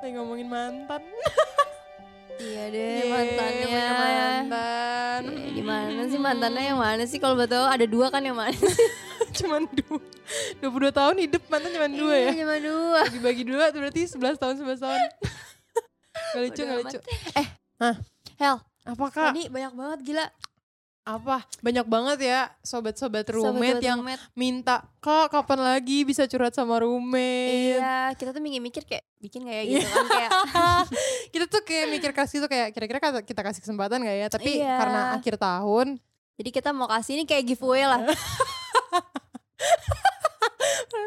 lagi ngomongin mantan. Iya deh. Iya, mantannya punya mantan. Eh, Gimana sih mantannya yang mana sih kalau betul ada dua kan yang mana? sih? cuman dua. 22 tahun hidup mantan cuman dua ya. Iya, Cuma dua. Dibagi dua tuh berarti 11 tahun 11 tahun. Gak lucu, Bodoh gak lucu. Eh, Hah? Hel, Apakah tadi banyak banget gila. apa banyak banget ya sobat-sobat Sobat-sobat roommate yang roommate. minta kak kapan lagi bisa curhat sama roommate Iya, kita tuh mikir-mikir kayak bikin kayak gitu Iya. kan kayak kita tuh kayak mikir kasih tuh kayak kira-kira kata- kita kasih kesempatan gak ya tapi Iya. karena akhir tahun jadi kita mau kasih ini kayak giveaway lah.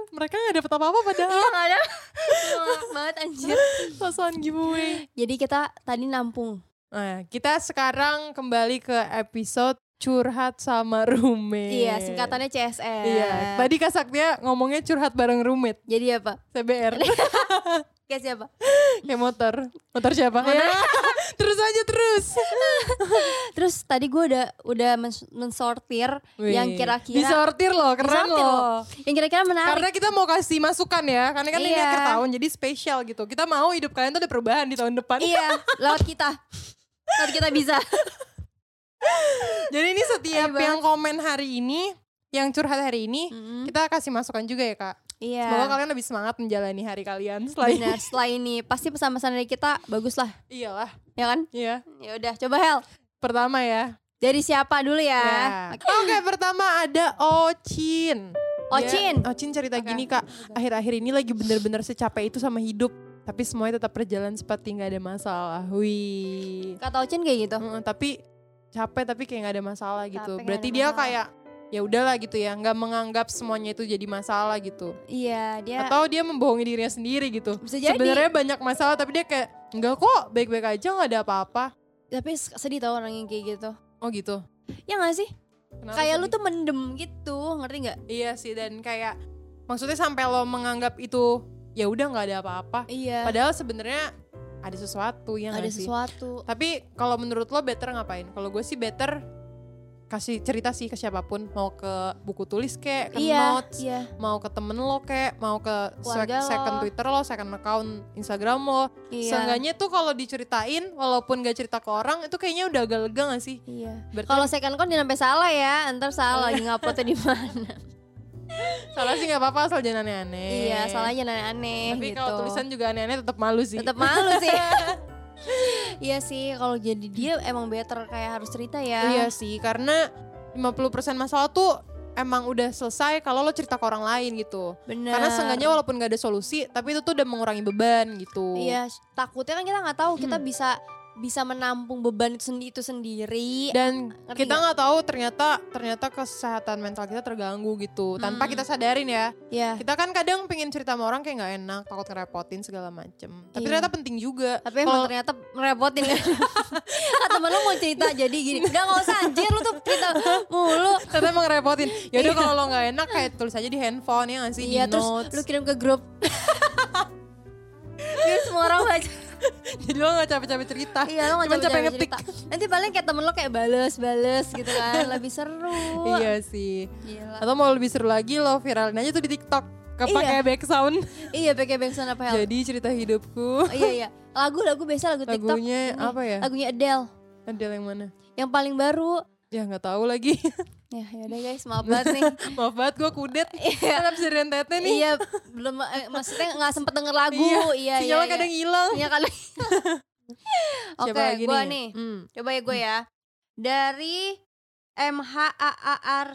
mereka gak dapet apa-apa padahal Iya nggak ada. Ngelak banget anjir. sosokan giveaway Jadi kita tadi nampung. nah, kita sekarang kembali ke episode curhat sama roommate Iya, singkatannya CSR. iya tadi Kak Saktia ngomongnya curhat bareng roommate Jadi apa? CBR Kayak siapa? kayak motor motor siapa terus aja terus Terus tadi gue udah udah mens- mensortir Wih, yang kira-kira disortir loh keren Disortir loh. loh. Yang kira-kira menarik. Karena kita mau kasih masukan ya, karena kan ini Iya. akhir tahun jadi spesial gitu. Kita mau hidup kalian tuh ada perubahan di tahun depan. iya, lewat kita. Lewat kita bisa. jadi ini setiap Ayo banget. yang komen hari ini, yang curhat hari ini, Mm-hmm. kita kasih masukan juga ya kak. Iya. Semoga kalian lebih semangat menjalani hari kalian selain Benar, setelah ini pasti pesan-pesan dari kita bagus lah, iyalah, ya kan? iya. Ya udah, coba Hel. Pertama ya. Dari siapa dulu ya? Ya. Oke. Oke, pertama ada Ocin. Dia- Ocin. Ocin cerita Oke. gini kak, akhir-akhir ini lagi bener-bener secapek itu sama hidup. Tapi semuanya tetap berjalan seperti nggak ada masalah. Wih. Kata Ocin kayak gitu. Heeh, tapi capek tapi kayak nggak ada masalah gitu. Capek nggak Berarti ada dia masalah. kayak ya udahlah gitu ya, nggak menganggap semuanya itu jadi masalah gitu. Iya, dia Atau dia membohongi dirinya sendiri gitu. bisa jadi. Sebenarnya banyak masalah tapi dia kayak nggak kok baik-baik aja nggak ada apa-apa. Tapi sedih tau orang yang kayak gitu. Oh gitu. Ya gak sih? Kenapa kayak lu tadi? tuh mendem gitu, ngerti nggak? Iya sih dan kayak maksudnya sampai lo menganggap itu ya udah nggak ada apa-apa. Iya. Padahal sebenarnya ada sesuatu yang ada sih. sesuatu. Tapi kalau menurut lo better ngapain? Kalau gue sih better kasih cerita sih ke siapapun, mau ke buku tulis kek, ke iya, notes, iya. mau ke temen lo kek, mau ke sec- Keluarga lo. second Twitter lo, second account Instagram lo. Iya. Seenggaknya tuh kalau diceritain, walaupun gak cerita ke orang, itu kayaknya udah agak lega gak sih? Iya. Berarti Kalau second kon jangan sampai salah ya, ntar salah lagi nguploadnya di mana. salah sih gak apa-apa asal jangan aneh-aneh. iya, salahnya aneh-aneh Tapi gitu. kalau tulisan juga aneh-aneh tetap malu sih. tetap malu sih. iya sih, kalau jadi dia emang better kayak harus cerita ya. Iya sih, karena 50% masalah tuh emang udah selesai kalau lo cerita ke orang lain gitu. Bener. Karena seenggaknya walaupun gak ada solusi, tapi itu tuh udah mengurangi beban gitu. Iya, takutnya kan kita nggak tahu kita bisa bisa menampung beban itu sendi- itu sendiri. Dan iya, Ngerti kita nggak? nggak tahu ternyata ternyata kesehatan mental kita terganggu gitu tanpa Hmm. kita sadarin ya. Iya. Kita kan kadang pengen cerita sama orang kayak nggak enak, takut ngerepotin segala macem. Tapi Iya. ternyata penting juga. Tapi emang Kalau- ternyata merepotin kan. Ah, temen lu mau cerita jadi gini. Udah gak usah anjir lu tuh cerita mulu. ternyata emang ngerepotin. Ya udah kalau lo nggak enak kayak tulis aja di handphone ya nggak sih Iya di terus notes. lu kirim ke grup. Biar semua orang baca. Jadi lo nggak capek-capek cerita. Iya lu Cuman capek ngajak capek ngetik. cerita. Nanti paling kayak temen lu kayak bales-bales gitu kan. Lebih seru. Iya sih. Gila. Atau mau lebih seru lagi lo viralin aja tuh di TikTok. Kepake background. Iya pakai backsound apa hal? Jadi cerita hidupku. Oh, iya iya. Lagu-lagu biasa lagu TikTok. Lagunya apa ya? Lagunya Adele. Adele yang mana? Yang paling baru. Ya nggak tahu lagi. Ya yaudah guys, maaf banget nih. Maaf banget gue kudet. Iya. Kan abis dari NTT nih. iya, belum eh, maksudnya nggak sempet denger lagu. Iya, iya. Sinyalnya iya. kadang hilang. Iya kali. Oke, Siapa lagi gue nih. Hmm. Coba ya gue ya. Dari MHAAR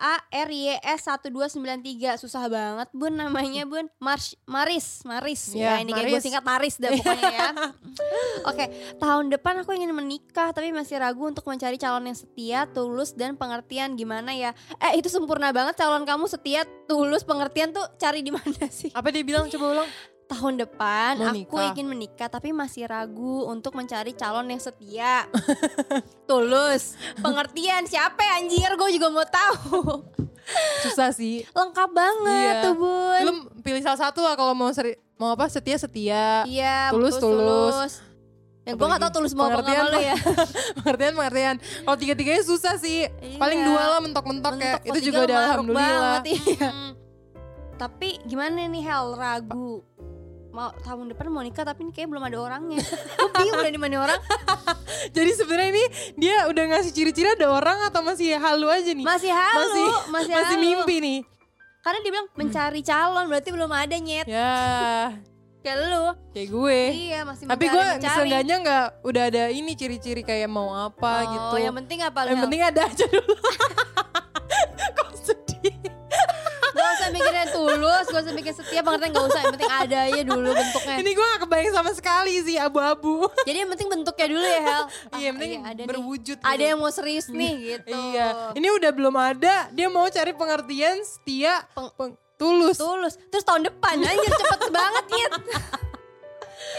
AARYS 1293 susah banget bun namanya bun Mars Maris Maris Ya, ya, ini kayak gue Maris. singkat Maris dah pokoknya ya oke tahun depan aku ingin menikah tapi masih ragu untuk mencari calon yang setia tulus dan pengertian gimana ya eh itu sempurna banget calon kamu setia tulus pengertian tuh cari di mana sih Apa dia bilang? Coba ulang. tahun depan Mau aku nikah. ingin menikah tapi masih ragu untuk mencari calon yang setia tulus pengertian siapa ya, anjir gue juga mau tahu Susah sih. lengkap Iya. banget tuh bun Lu pilih salah satu lah kalau mau seri, mau apa setia setia. iya Tulus, tulus. yang gue Apalagi? gak tau tulus mau apa Pengertian, nggak lu ya pengertian pengertian. Kalau tiga tiganya susah sih. Paling Iya. dua lah mentok-mentok ya. Mentok, Itu kok juga tiga udah maruk alhamdulillah. banget, iya. Mm. tapi gimana nih hel ragu mau tahun depan mau nikah tapi ini kayak belum ada orangnya. Gue bingung udah di mana orang. Jadi sebenarnya ini dia udah ngasih ciri-ciri ada orang atau masih halu aja nih? Masih halu, masih, Masih- Masih halu. mimpi nih. Karena dia Hmm. bilang mencari calon berarti belum ada nyet Ya, kayak lu. kayak gue. Iya, masih Eh, Tapi gue mencari-mencari. seenggaknya nggak udah ada ini ciri-ciri kayak mau apa Oh, gitu. Yang penting apa lu? Yang penting ada aja dulu. Kok sedih? Gak usah mikirin tulus, gak usah mikirin setia, pengertian gak usah. Yang penting ada aja dulu bentuknya. Ini gue gak kebayang sama sekali sih abu-abu. Jadi yang penting bentuknya dulu ya Hel. Ah, Iya, yang penting ada nih. berwujud. Ada gitu. yang mau serius nih gitu. Iya, ini udah belum ada. Dia mau cari pengertian setia, Peng- peng- tulus. Tulus. Terus tahun depan anjir cepet banget Nyet. Eh.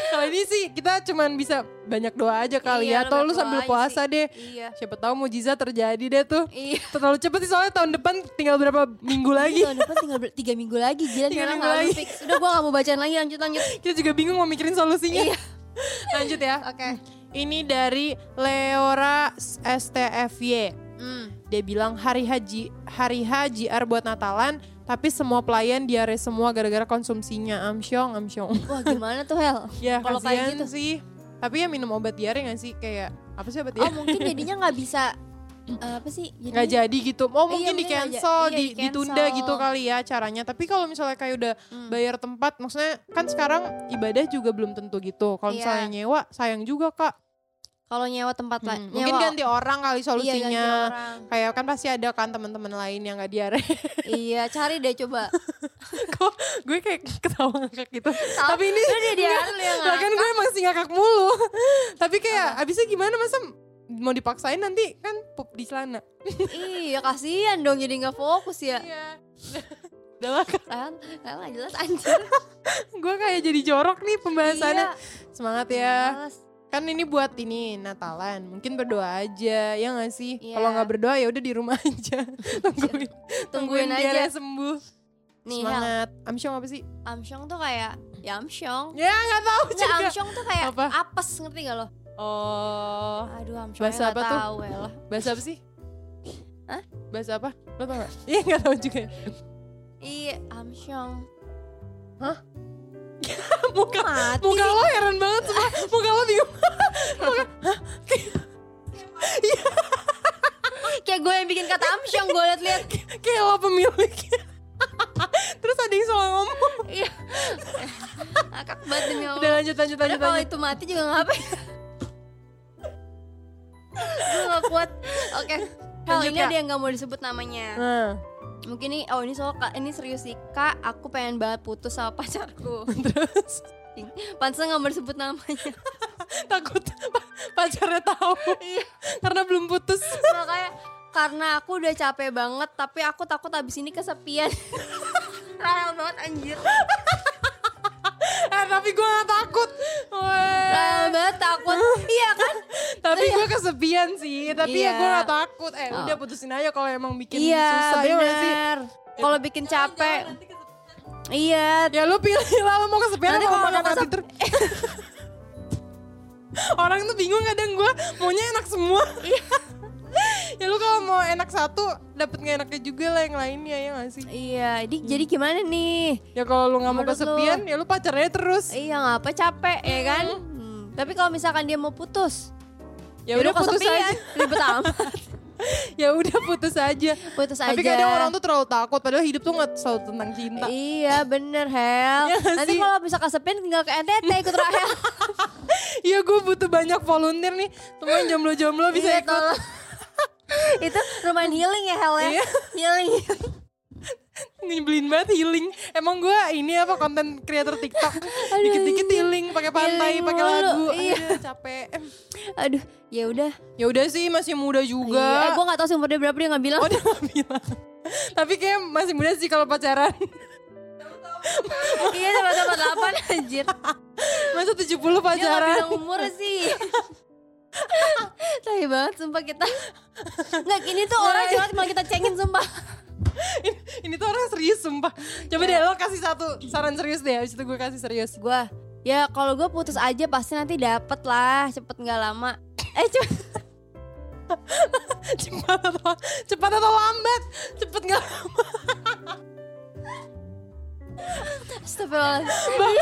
Kalau ini sih kita cuman bisa banyak doa aja kali Iya, ya. Atau lu lu banyak sambil doa aja puasa sih. deh. Iya. Siapa tahu mujizat terjadi deh tuh. Iya. Terlalu cepet sih soalnya tahun depan tinggal berapa minggu lagi. Tahun depan tinggal ber- tiga minggu lagi Tiga Gila sekarang minggu gak lagi. fix Udah gue gak mau bacain lagi lanjut lanjut Kita juga bingung mau mikirin solusinya. Iya. Lanjut ya. Oke Ini dari Leora STFY. Hmm. Dia bilang hari haji, hari haji JR buat Natalan, tapi semua pelayan diare semua gara-gara konsumsinya amsyong, amsyong. Wah gimana tuh Hel Ya Kalau kasihan kayak gitu sih. Tapi ya minum obat diare gak sih? Kayak apa sih obat Oh diare? mungkin jadinya gak bisa eh, Apa sih Iya. nggak Jadinya- jadi gitu. Oh Iya, mungkin mungkin di nggak jadi. cancel, Iya, di, di-cancel. ditunda gitu kali ya caranya. Tapi kalau misalnya kayak udah Hmm. bayar tempat, maksudnya kan sekarang ibadah juga belum tentu gitu. Kalau Iya. misalnya nyewa, sayang juga kak. Kalau nyewa tempat lain Hmm, Mungkin ganti orang kali Iya, solusinya. ganti orang. kayak kan pasti ada kan teman-teman lain yang gak diare. iya cari deh coba Kok gue kayak ketawa ngakak gitu. Tapi ini Lu dia ya dia lu yang Lah kan gue masih ngakak mulu. Tapi kayak abisnya gimana masa mau dipaksain nanti kan pup di celana. Iya kasihan dong jadi nggak fokus ya. Iya. Udah lah, Kak. Kan kan nggak jelas anjir. gue kayak jadi jorok nih pembahasannya. Iya, Semangat ya. males. Kan ini buat ini Natalan. Mungkin berdoa aja ya gak sih? Iya. Kalau nggak berdoa ya udah di rumah aja. tungguin, Tungguin biar aja. dia sembuh. Nih Hel, Semangat. Amsyong apa sih? Amsyong tuh kayak ya Amsyong. Ya nggak tahu Nggak, juga. Amsyong tuh kayak Apa? apes ngerti gak lo? Oh, Aduh Amsyong Bahasa nggak apa tuh? tahu ya lah. bahasa apa sih? Hah? Bahasa apa? Lo tau gak? Iya gak tau juga ya. Iya Amsyong. Muka, Mati. muka lo heran banget semua. Muka lo bingung. Kayak gue yang bikin kata Amsyong gue liat-liat. Kayak lo pemiliknya. Terus ada yang salah ngomong. Iya. Akak banget demi Udah Allah. lanjut, lanjut, Oh. Padahal lanjut. kalau lanjut. itu mati juga ngapain? gue gak kuat. Oke. Hel, Lanjut, ini Kak. ada yang gak mau disebut namanya. Nah, mungkin nih oh ini soal Kak, ini serius sih kak aku pengen banget putus sama pacarku terus pantesan nggak mau disebut namanya takut pacarnya tahu Iya. karena belum putus. makanya karena aku udah capek banget tapi aku takut abis ini kesepian Rahel banget anjir Eh, tapi gue gak takut. Wah. Rahel banget takut iya kan Tapi gue kesepian sih. Tapi Iya. ya gue gak takut. Eh, Oh. udah putusin aja kalau emang bikin iya susah. ya gak sih? benar kalau bikin capek iya Ya lu pilih lah lo mau kesepian Nanti apa kalau mau makan mau hati ter- Orang tuh bingung kadang gue maunya enak semua. Iya. ya lu kalau mau enak satu dapat nggak enaknya juga lah yang lainnya ya gak sih? iya jadi jadi gimana nih Ya kalau lu nggak mau Menurut lu- kesepian ya lu pacarnya terus. iya ngapa capek ya kan Hmm. tapi kalau misalkan dia mau putus Ya udah putus kesepian. aja. ribet amat Ya udah putus aja. putus aja Tapi kadang orang tuh terlalu takut padahal hidup tuh nggak selalu tentang cinta. Iya bener Hel Iya nggak Nanti sih? kalau bisa kesepin tinggal ke NTT ikut Rahel Iya gue butuh banyak volunteer nih. Temen jomblo-jomblo bisa Iya, ikut. tolong. Itu lumayan healing ya Hel ya Iya. Healing Nyebelin banget healing. Emang gue ini apa konten creator TikTok. Aduh, Dikit-dikit healing pakai pantai, Healing pakai mulu, lagu. iya. Aduh, capek. Aduh ya udah Ya udah sih masih muda juga. Iya, eh, Gue gak tau sih umur dia berapa dia gak bilang Oh dia nggak bilang. Tapi kayak masih muda sih kalau pacaran. Iya sama-sama 8 anjir Masa 70 Dia gak pacaran. Iya, bilang umur sih Tai banget sumpah kita Nggak gini tuh orang Nah, cuma cuma kita cengin sumpah ini, ini tuh orang serius sumpah. Coba Iya. deh lo kasih satu saran serius deh. Abis itu gue kasih serius. Gue Ya kalau gue putus aja pasti nanti dapet lah Cepet gak lama Eh cuma cepat atau cepat atau lambat. Cepet nggak lama. Astagfirullah. Bang,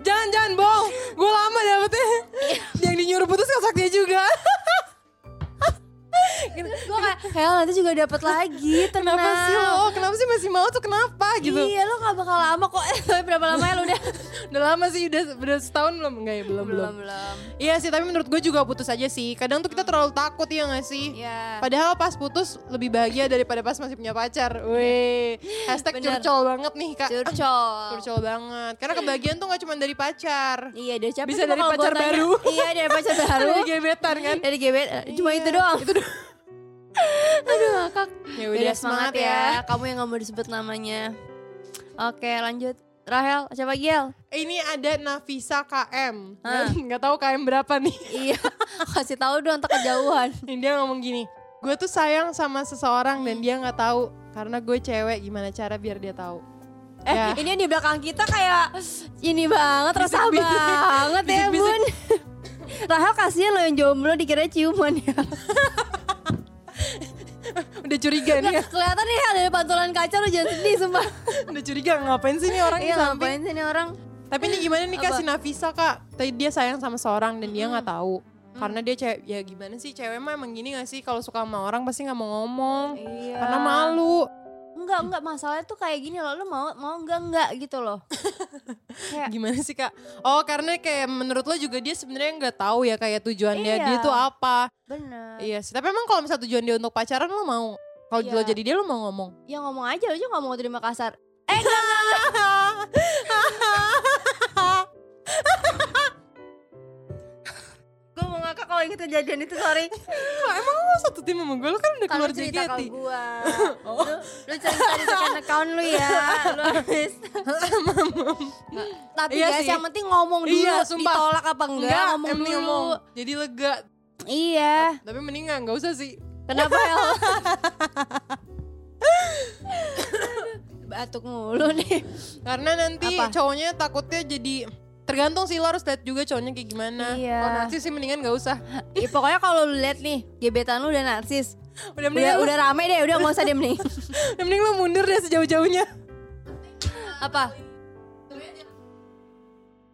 jangan jangan bohong. Gue lama dapetnya. Iya. Yang dinyuruh putus kan dia juga. Gue kayak, kayak nanti juga dapat lagi, tenang. Gitu. Kenapa sih lo? Kenapa sih masih mau tuh kenapa gitu? Iya, lo gak bakal lama kok. Eh, Berapa lama ya lo udah? Udah lama sih udah udah setahun belum enggak ya belum belum. belum. Iya sih tapi menurut gue juga putus aja sih. Kadang tuh kita terlalu takut ya gak sih? Hmm. Iya. Padahal pas putus lebih bahagia daripada pas masih punya pacar. Weh, hashtag Bener. curcol banget nih kak. Curcol. Curcol banget. Karena kebahagiaan tuh gak cuma dari pacar. Iya, udah capek. Bisa cuma dari kalau gua pacar tanya. baru. Iya, dari pacar baru. Ada gebetan kan? dari gebet, cuma Iya, itu doang. Itu doang. Aduh, ngakak. Ya udah semangat ya. Kamu yang gak mau disebut namanya. Oke, lanjut. Rahel, siapa Giel? Ini ada Nafisa KM. Hah. Nggak tahu KM berapa nih. Iya, kasih tahu dong, tak kejauhan. Ini Dia ngomong gini, gue tuh sayang sama seseorang dan dia nggak tahu karena gue cewek gimana cara biar dia tahu. Eh, Ya. ini yang di belakang kita kayak ini banget, resah Bisik-bisik. banget ya, Bisik-bisik. Bun. Rahel kasihan lo yang jomblo dikira ciuman ya. Udah curiga nih, Kelihatan nih Hel, dari pantulan kaca lo jangan sedih sumpah. udah curiga ngapain sih nih orang di Iya, samping. ngapain sih nih orang? Tapi ini gimana nih kak Apa? Hmm. si Nafisa kak? Tadi dia sayang sama seorang dan dia nggak tahu. Karena dia cewek, ya gimana sih cewek mah emang gini gak sih kalau suka sama orang pasti nggak mau ngomong Iya. karena malu. Enggak, enggak, masalahnya tuh kayak gini loh, lo mau mau enggak enggak gitu loh. Kayak Gimana sih kak? Oh karena kayak menurut lo juga dia sebenarnya nggak tahu ya kayak tujuannya Iya. dia tuh apa? bener. Iya sih. Tapi emang kalau misalnya tujuan dia untuk pacaran lo mau? Kalau Iya. lo jadi dia lo mau ngomong? Ya ngomong aja, lo juga nggak mau terima kasar. Gue mau ngakak kalau inget kejadian itu, sorry. Wah, Iya, emang lo satu tim sama gue, lo kan udah Kalau keluar cerita JKT ke gua. Lu, lu cerita di second account lu ya. Lu habis. Nggak, Tapi Iya guys, sih. yang penting ngomong dulu. Iya, sumpah. Ditolak apa enggak, ngomong emang dulu. Jadi lega Iya. Tapi mending nggak, nggak usah sih Kenapa ya? Batuk mulu nih. Karena nanti Apa? cowoknya takutnya jadi Tergantung sih lo harus lihat juga cowoknya kayak gimana Iya. Kalau narsis sih mendingan nggak usah Ya, pokoknya kalau lu lihat nih, gebetan lu udah narsis. Udah mendingan lo, Udah, udah rame deh, udah nggak usah diem nih. udah mending lo mundur deh sejauh-jauhnya Apa?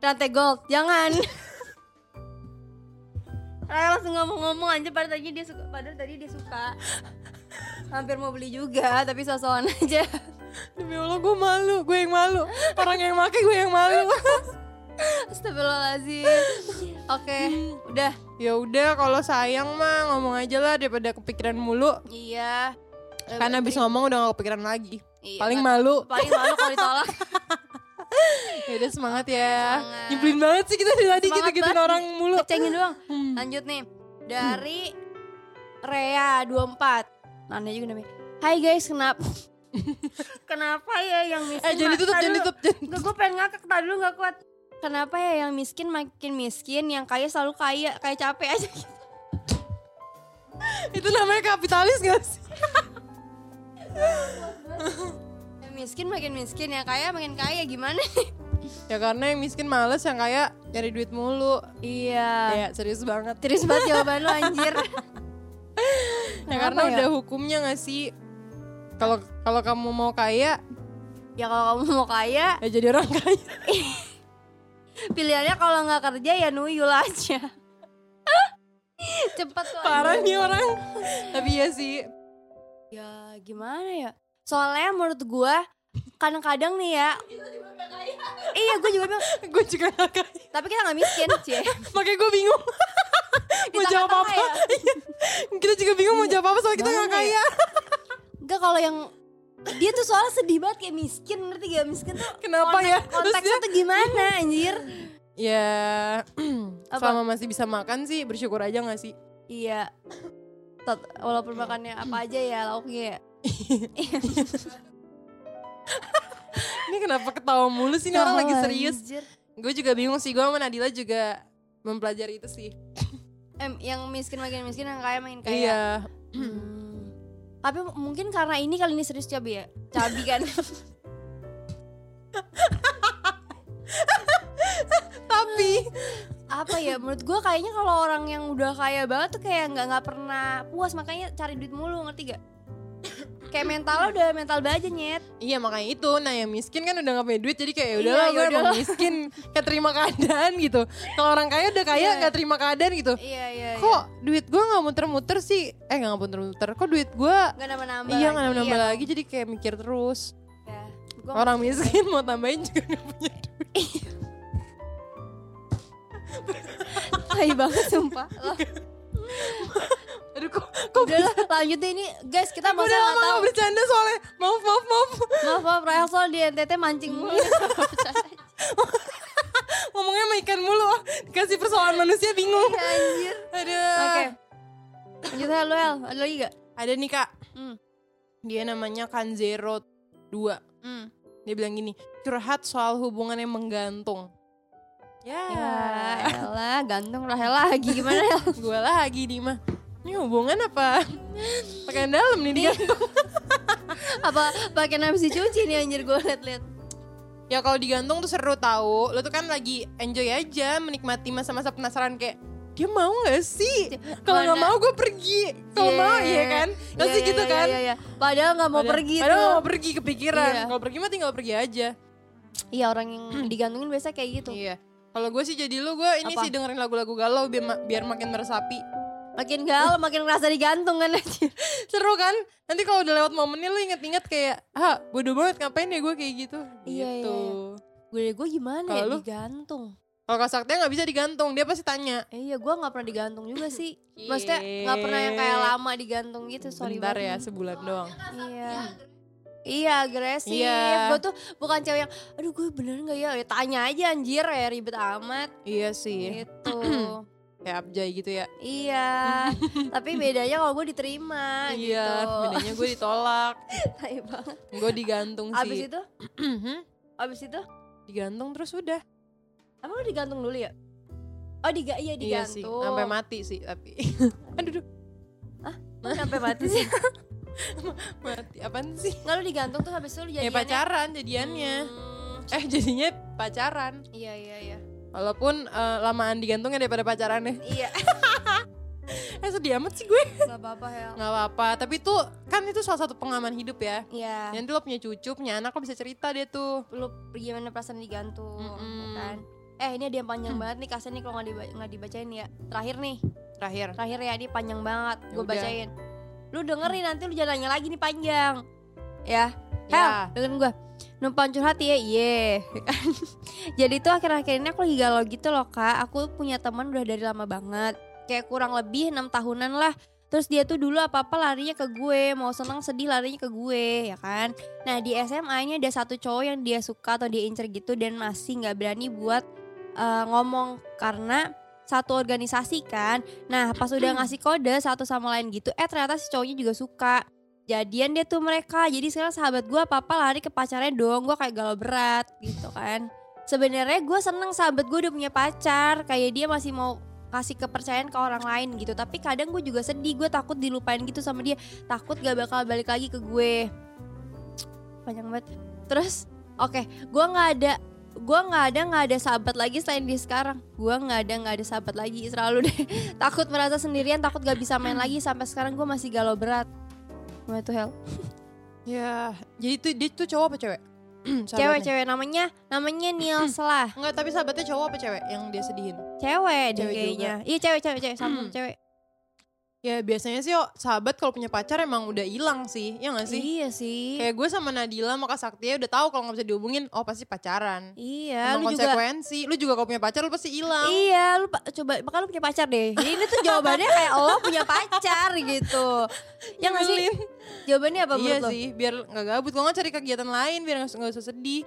Rantai gold, jangan. Raya langsung ngomong-ngomong aja padahal tadi dia suka, padahal tadi dia suka. Hampir mau beli juga, tapi sosokan aja. Demi Allah gue malu, gue yang malu Orang yang make gue yang malu Astagfirullahaladzim. Oke, udah. Ya udah kalau sayang mah ngomong aja lah daripada kepikiran mulu Iya. Karena abis ngomong udah gak kepikiran lagi Iya, Paling nggak- malu paling malu kalau ditolak. Ya udah semangat ya. Semangat. Nyebelin banget sih kita dari tadi Semangat gitu-gitu banget. orang mulu. Cengin doang. Lanjut nih. Dari Rea 24. Nanya juga namanya. Hai guys, kenapa? kenapa ya yang miskin? Eh jangan mak- ditutup, Tar jangan dulu. ditutup. jangan- Gak, gue pengen ngakak, tadi dulu gak kuat. Kenapa ya yang miskin makin miskin, yang kaya selalu kaya, kayak capek aja gitu. Itu namanya kapitalis gak sih? Yang miskin makin miskin, yang kaya makin kaya, gimana? Ya karena yang miskin males yang kaya nyari duit mulu. Ya iya. serius banget. Terus banget jawaban lu anjir. Ya Kenapa karena ya? udah hukumnya gak sih? Kalau kalau kamu mau kaya, ya kalau kamu mau kaya, ya jadi orang kaya. pilihannya kalau nggak kerja ya nuyul aja. Cepet tuh. Parah nih orang. Tapi ya sih. Ya gimana ya? Soalnya menurut gua kadang-kadang nih ya. iya gue juga bilang. Gue juga gak kaya. Tapi kita nggak miskin cie. Makanya gue bingung. Di mau jawab apa? tengah-tengah ya? Iya. kita juga bingung mau jawab apa soal kita gak Gimana ya? kaya. Enggak kalau yang dia tuh soalnya sedih banget kayak miskin ngerti gak miskin tuh Kenapa ya? Terus konteksnya dia- tuh gimana anjir Ya, Apa? selama masih bisa makan sih bersyukur aja gak sih? iya Tet- walaupun makannya apa aja ya lauknya ya. Ini kenapa ketawa mulu sih? Ini orang lagi serius. Anjir. Gue juga bingung sih. Gue sama Nadila juga mempelajari itu sih. em yang miskin makin miskin yang kaya makin kaya Iya. Hmm. Tapi m- mungkin karena ini kali ini serius cabi ya. Cabi kan. Tapi Apa ya menurut gua kayaknya kalau orang yang udah kaya banget tuh kayak nggak nggak pernah puas makanya cari duit mulu ngerti gak? kayak mentalnya udah mental baja nyet Iya makanya itu, nah yang miskin kan udah gak punya duit jadi kayak udah Iya, lah gue yaudahlah. emang miskin Kayak terima keadaan gitu Kalau orang kaya udah kaya Iya. gak terima keadaan gitu iya iya Kok duit gue gak muter-muter sih, eh gak muter-muter Kok duit gue nggak nambah nambah iya gak nambah lagi jadi kayak mikir terus Ya, Orang miskin mau tambahin juga gak punya duit tai banget sumpah Lah, Aduh kok, kok udah lah lanjut deh ini guys kita masa udah nggak lama tahu gak bercanda soalnya Maaf maaf maaf maaf maaf Rahel soal di NTT mancing Iya, mulu Ngomongnya sama ikan mulu Dikasih persoalan manusia bingung anjir Aduh oke lanjut Hel lu, Hel ada lagi gak Ada nih kak hmm. Dia namanya Kanzero 2 hmm. Dia bilang gini, curhat soal hubungan yang menggantung. Ya, ya elah gantung Rahel lagi gimana Hel gue lagi nih mah. Ini hubungan apa? Pakai dalam nih dia. apa pakai nafsu cuci nih anjir gue liat-liat Ya kalau digantung tuh seru tahu. Lo tuh kan lagi enjoy aja, menikmati masa-masa penasaran kayak dia mau gak sih? Kalau nggak Mana- mau gue pergi. Kalau mau Iya. ya kan? Pasti Iya, iya, gitu iya, kan? iya, iya. Padahal nggak mau Padahal- pergi Padahal tuh. nggak mau pergi kepikiran. Iya. Kalau pergi mah tinggal pergi aja. Iya orang yang digantungin biasa kayak gitu. Hmm. Iya. Kalau gue sih jadi lu gue ini Apa? sih dengerin lagu-lagu galau biar, ma- biar makin meresapi. Makin galau, makin ngerasa digantung kan anjir. seru kan nanti kalau udah lewat momennya lu inget-inget kayak ah bodoh banget ngapain ya gue kayak gitu Iya, iya, gitu Gue gue gimana ya Kalau lu? digantung? kalau kak Saktia nggak bisa digantung dia pasti tanya Eh, iya gue nggak pernah digantung juga sih. Maksudnya nggak pernah yang kayak lama digantung gitu. Sorry Iya. bentar ya banget. sebulan doang Iya. Iya agresif. Iya. Gue tuh bukan cewek yang, aduh gue bener nggak ya? ya? Tanya aja anjir ya ribet amat. iya sih Gitu. kayak abjay gitu ya iya. Tapi bedanya kalau gue diterima. iya Gitu. bedanya gue ditolak Tai banget. gue digantung Abis sih itu, abis itu, digantung terus udah emang lu digantung dulu ya? Oh diga iya iya digantung. sih sampai mati sih tapi aduh duh, Lu sampai mati sih. mati apaan sih Nggak lu digantung tuh habis itu lu ya jadiannya. pacaran jadiannya Hmm, eh jadinya pacaran iya iya iya. walaupun eh, lamaan digantungnya daripada pacarannya Iya. eh sedih amat sih gue Gak apa-apa ya. Hel. nggak apa-apa tapi itu kan itu salah satu pengalaman hidup ya Iya. nanti lo punya cucu punya anak lo bisa cerita dia tuh Lu gimana perasaan digantung Mm-mm. Hmm. kan? Eh ini ada yang panjang banget nih kasihan nih kalau nggak diba- nggak dibacain ya. Terakhir nih, terakhir terakhir ya ini panjang banget. Gue udah. bacain. Lu dengerin nanti lu jangan nanya lagi nih panjang. Ya. Ya. Hel, dengerin gue Numpang curhat ya, iye Jadi tuh akhir-akhir ini aku lagi galau gitu loh kak Aku punya teman udah dari lama banget Kayak kurang lebih enam tahunan lah Terus dia tuh dulu apa-apa larinya ke gue Mau seneng sedih larinya ke gue, ya kan Nah di SMA ini ada satu cowok yang dia suka atau dia incer gitu Dan masih gak berani buat eh, ngomong Karena satu organisasi kan Nah pas udah ngasih kode satu sama lain gitu Eh ternyata si cowoknya juga suka jadian deh tuh mereka jadi sekarang sahabat gue apa apa lari ke pacarnya dong gue kayak galau berat gitu kan sebenarnya gue seneng sahabat gue udah punya pacar kayak dia masih mau kasih kepercayaan ke orang lain gitu tapi kadang gue juga sedih gue takut dilupain gitu sama dia takut gak bakal balik lagi ke gue panjang banget terus oke gue nggak ada gue nggak ada nggak ada sahabat lagi selain dia sekarang gue nggak ada nggak ada sahabat lagi selalu deh takut merasa sendirian takut gak bisa main lagi sampai sekarang gue masih galau berat gimana tuh Hel ya jadi itu dia tuh cowok apa cewek cewek Sahabatnya. cewek namanya namanya Niels lah Enggak, tapi sahabatnya cowok apa cewek yang dia sedihin? cewek deh Cewek juga. kayaknya iya cewek cewek cewek sama Hmm. cewek Ya biasanya sih oh, sahabat kalau punya pacar emang udah hilang sih, ya gak sih? iya sih Kayak gue sama Nadila sama Kak Saktia udah tahu kalau nggak bisa dihubungin, oh pasti pacaran. iya lu Emang juga konsekuensi, lu juga kalau punya pacar lu pasti hilang. Iya, lu pa- coba maka lu punya pacar deh. Jadi ini tuh jawabannya kayak lo punya pacar gitu. Yang nggak sih? Nyebelin. Jawabannya apa Iya menurut lo? sih, biar nggak gabut. Kalau nggak cari kegiatan lain biar nggak nggak usah sedih.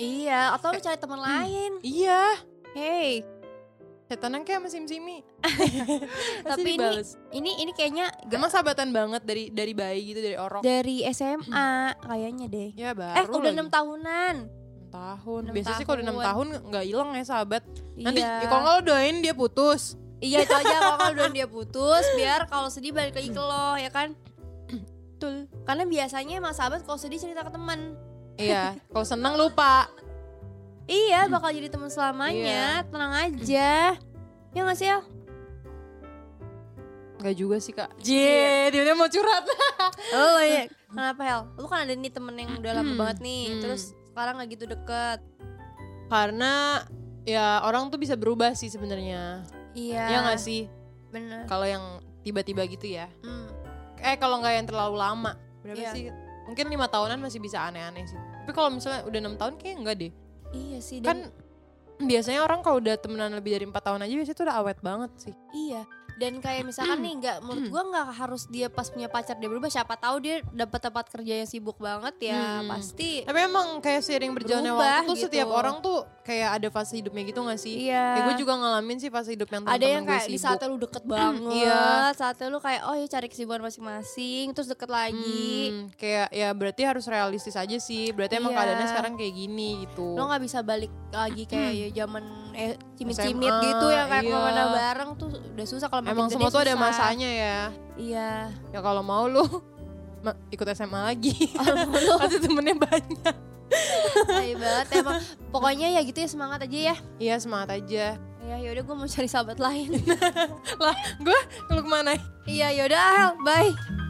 Iya, atau lu cari Hmm. teman lain. Iya, Hey, setanang kayak sama Sim-Simi. Pasti tapi ini dibales. ini ini kayaknya Emang sahabatan banget dari dari bayi gitu dari orok. dari SMA kayaknya deh. Ya baru. Eh, udah lagi. enam tahunan. Enam tahun. Enam Biasanya sih kalau udah enam tahun tahun. nggak hilang ya sahabat. Nanti Iya. ya, kalau nggak lo doain dia putus. Iya itu aja kalau kalau udah dia putus biar kalau sedih balik lagi ke lo ya kan Betul. karena biasanya emang sahabat kalau sedih cerita ke teman Iya. Kalau senang lupa. iya bakal jadi teman selamanya tenang aja ya nggak sih El? Iya. Nggak juga sih kak. J, dia mau curhat. Oh iya. Kenapa Hel? Lu kan ada nih temen yang udah lama Hmm. banget nih Hmm. Terus sekarang gak gitu deket Karena ya orang tuh bisa berubah sih sebenarnya. Iya Ya nggak sih? Bener Kalau yang tiba-tiba gitu ya. Hmm. Eh kalau nggak yang terlalu lama. Berapa Iya. sih? Mungkin lima tahunan masih bisa aneh-aneh sih. Tapi kalau misalnya udah enam tahun kayaknya enggak deh. Iya sih Kan dan, biasanya orang kalau udah temenan lebih dari empat tahun aja biasanya tuh udah awet banget sih. Iya dan kayak misalkan nih nggak menurut gua nggak harus dia pas punya pacar dia berubah siapa tahu dia dapat tempat kerja yang sibuk banget ya Hmm. pasti Tapi emang kayak seiring berjalannya Berubah waktu tuh gitu. setiap orang tuh kayak ada fase hidupnya gitu gak sih? Iya. Kayak gue juga ngalamin sih fase hidup yang ada temen-temen yang gue kayak di sibuk. Mm, saatnya lu deket banget Iya. saatnya lu kayak oh ya cari kesibukan masing-masing terus deket lagi Hmm, kayak ya berarti harus realistis aja sih. Berarti emang Iya. keadaannya sekarang kayak gini gitu. lo nggak bisa balik lagi kayak ya zaman eh, cimit-cimit SMA, gitu ya kayak iya. kemana bareng tuh udah susah kalau makin emang gede semua tuh ada susah. masanya ya. iya Ya kalau mau lu ma- ikut SMA lagi. Pasti temennya banyak. tai iya banget emang pokoknya ya gitu ya semangat aja ya Iya semangat aja. ya yaudah gue mau cari sahabat lain Lah gue lu kemana? iya yaudah Hel ya bye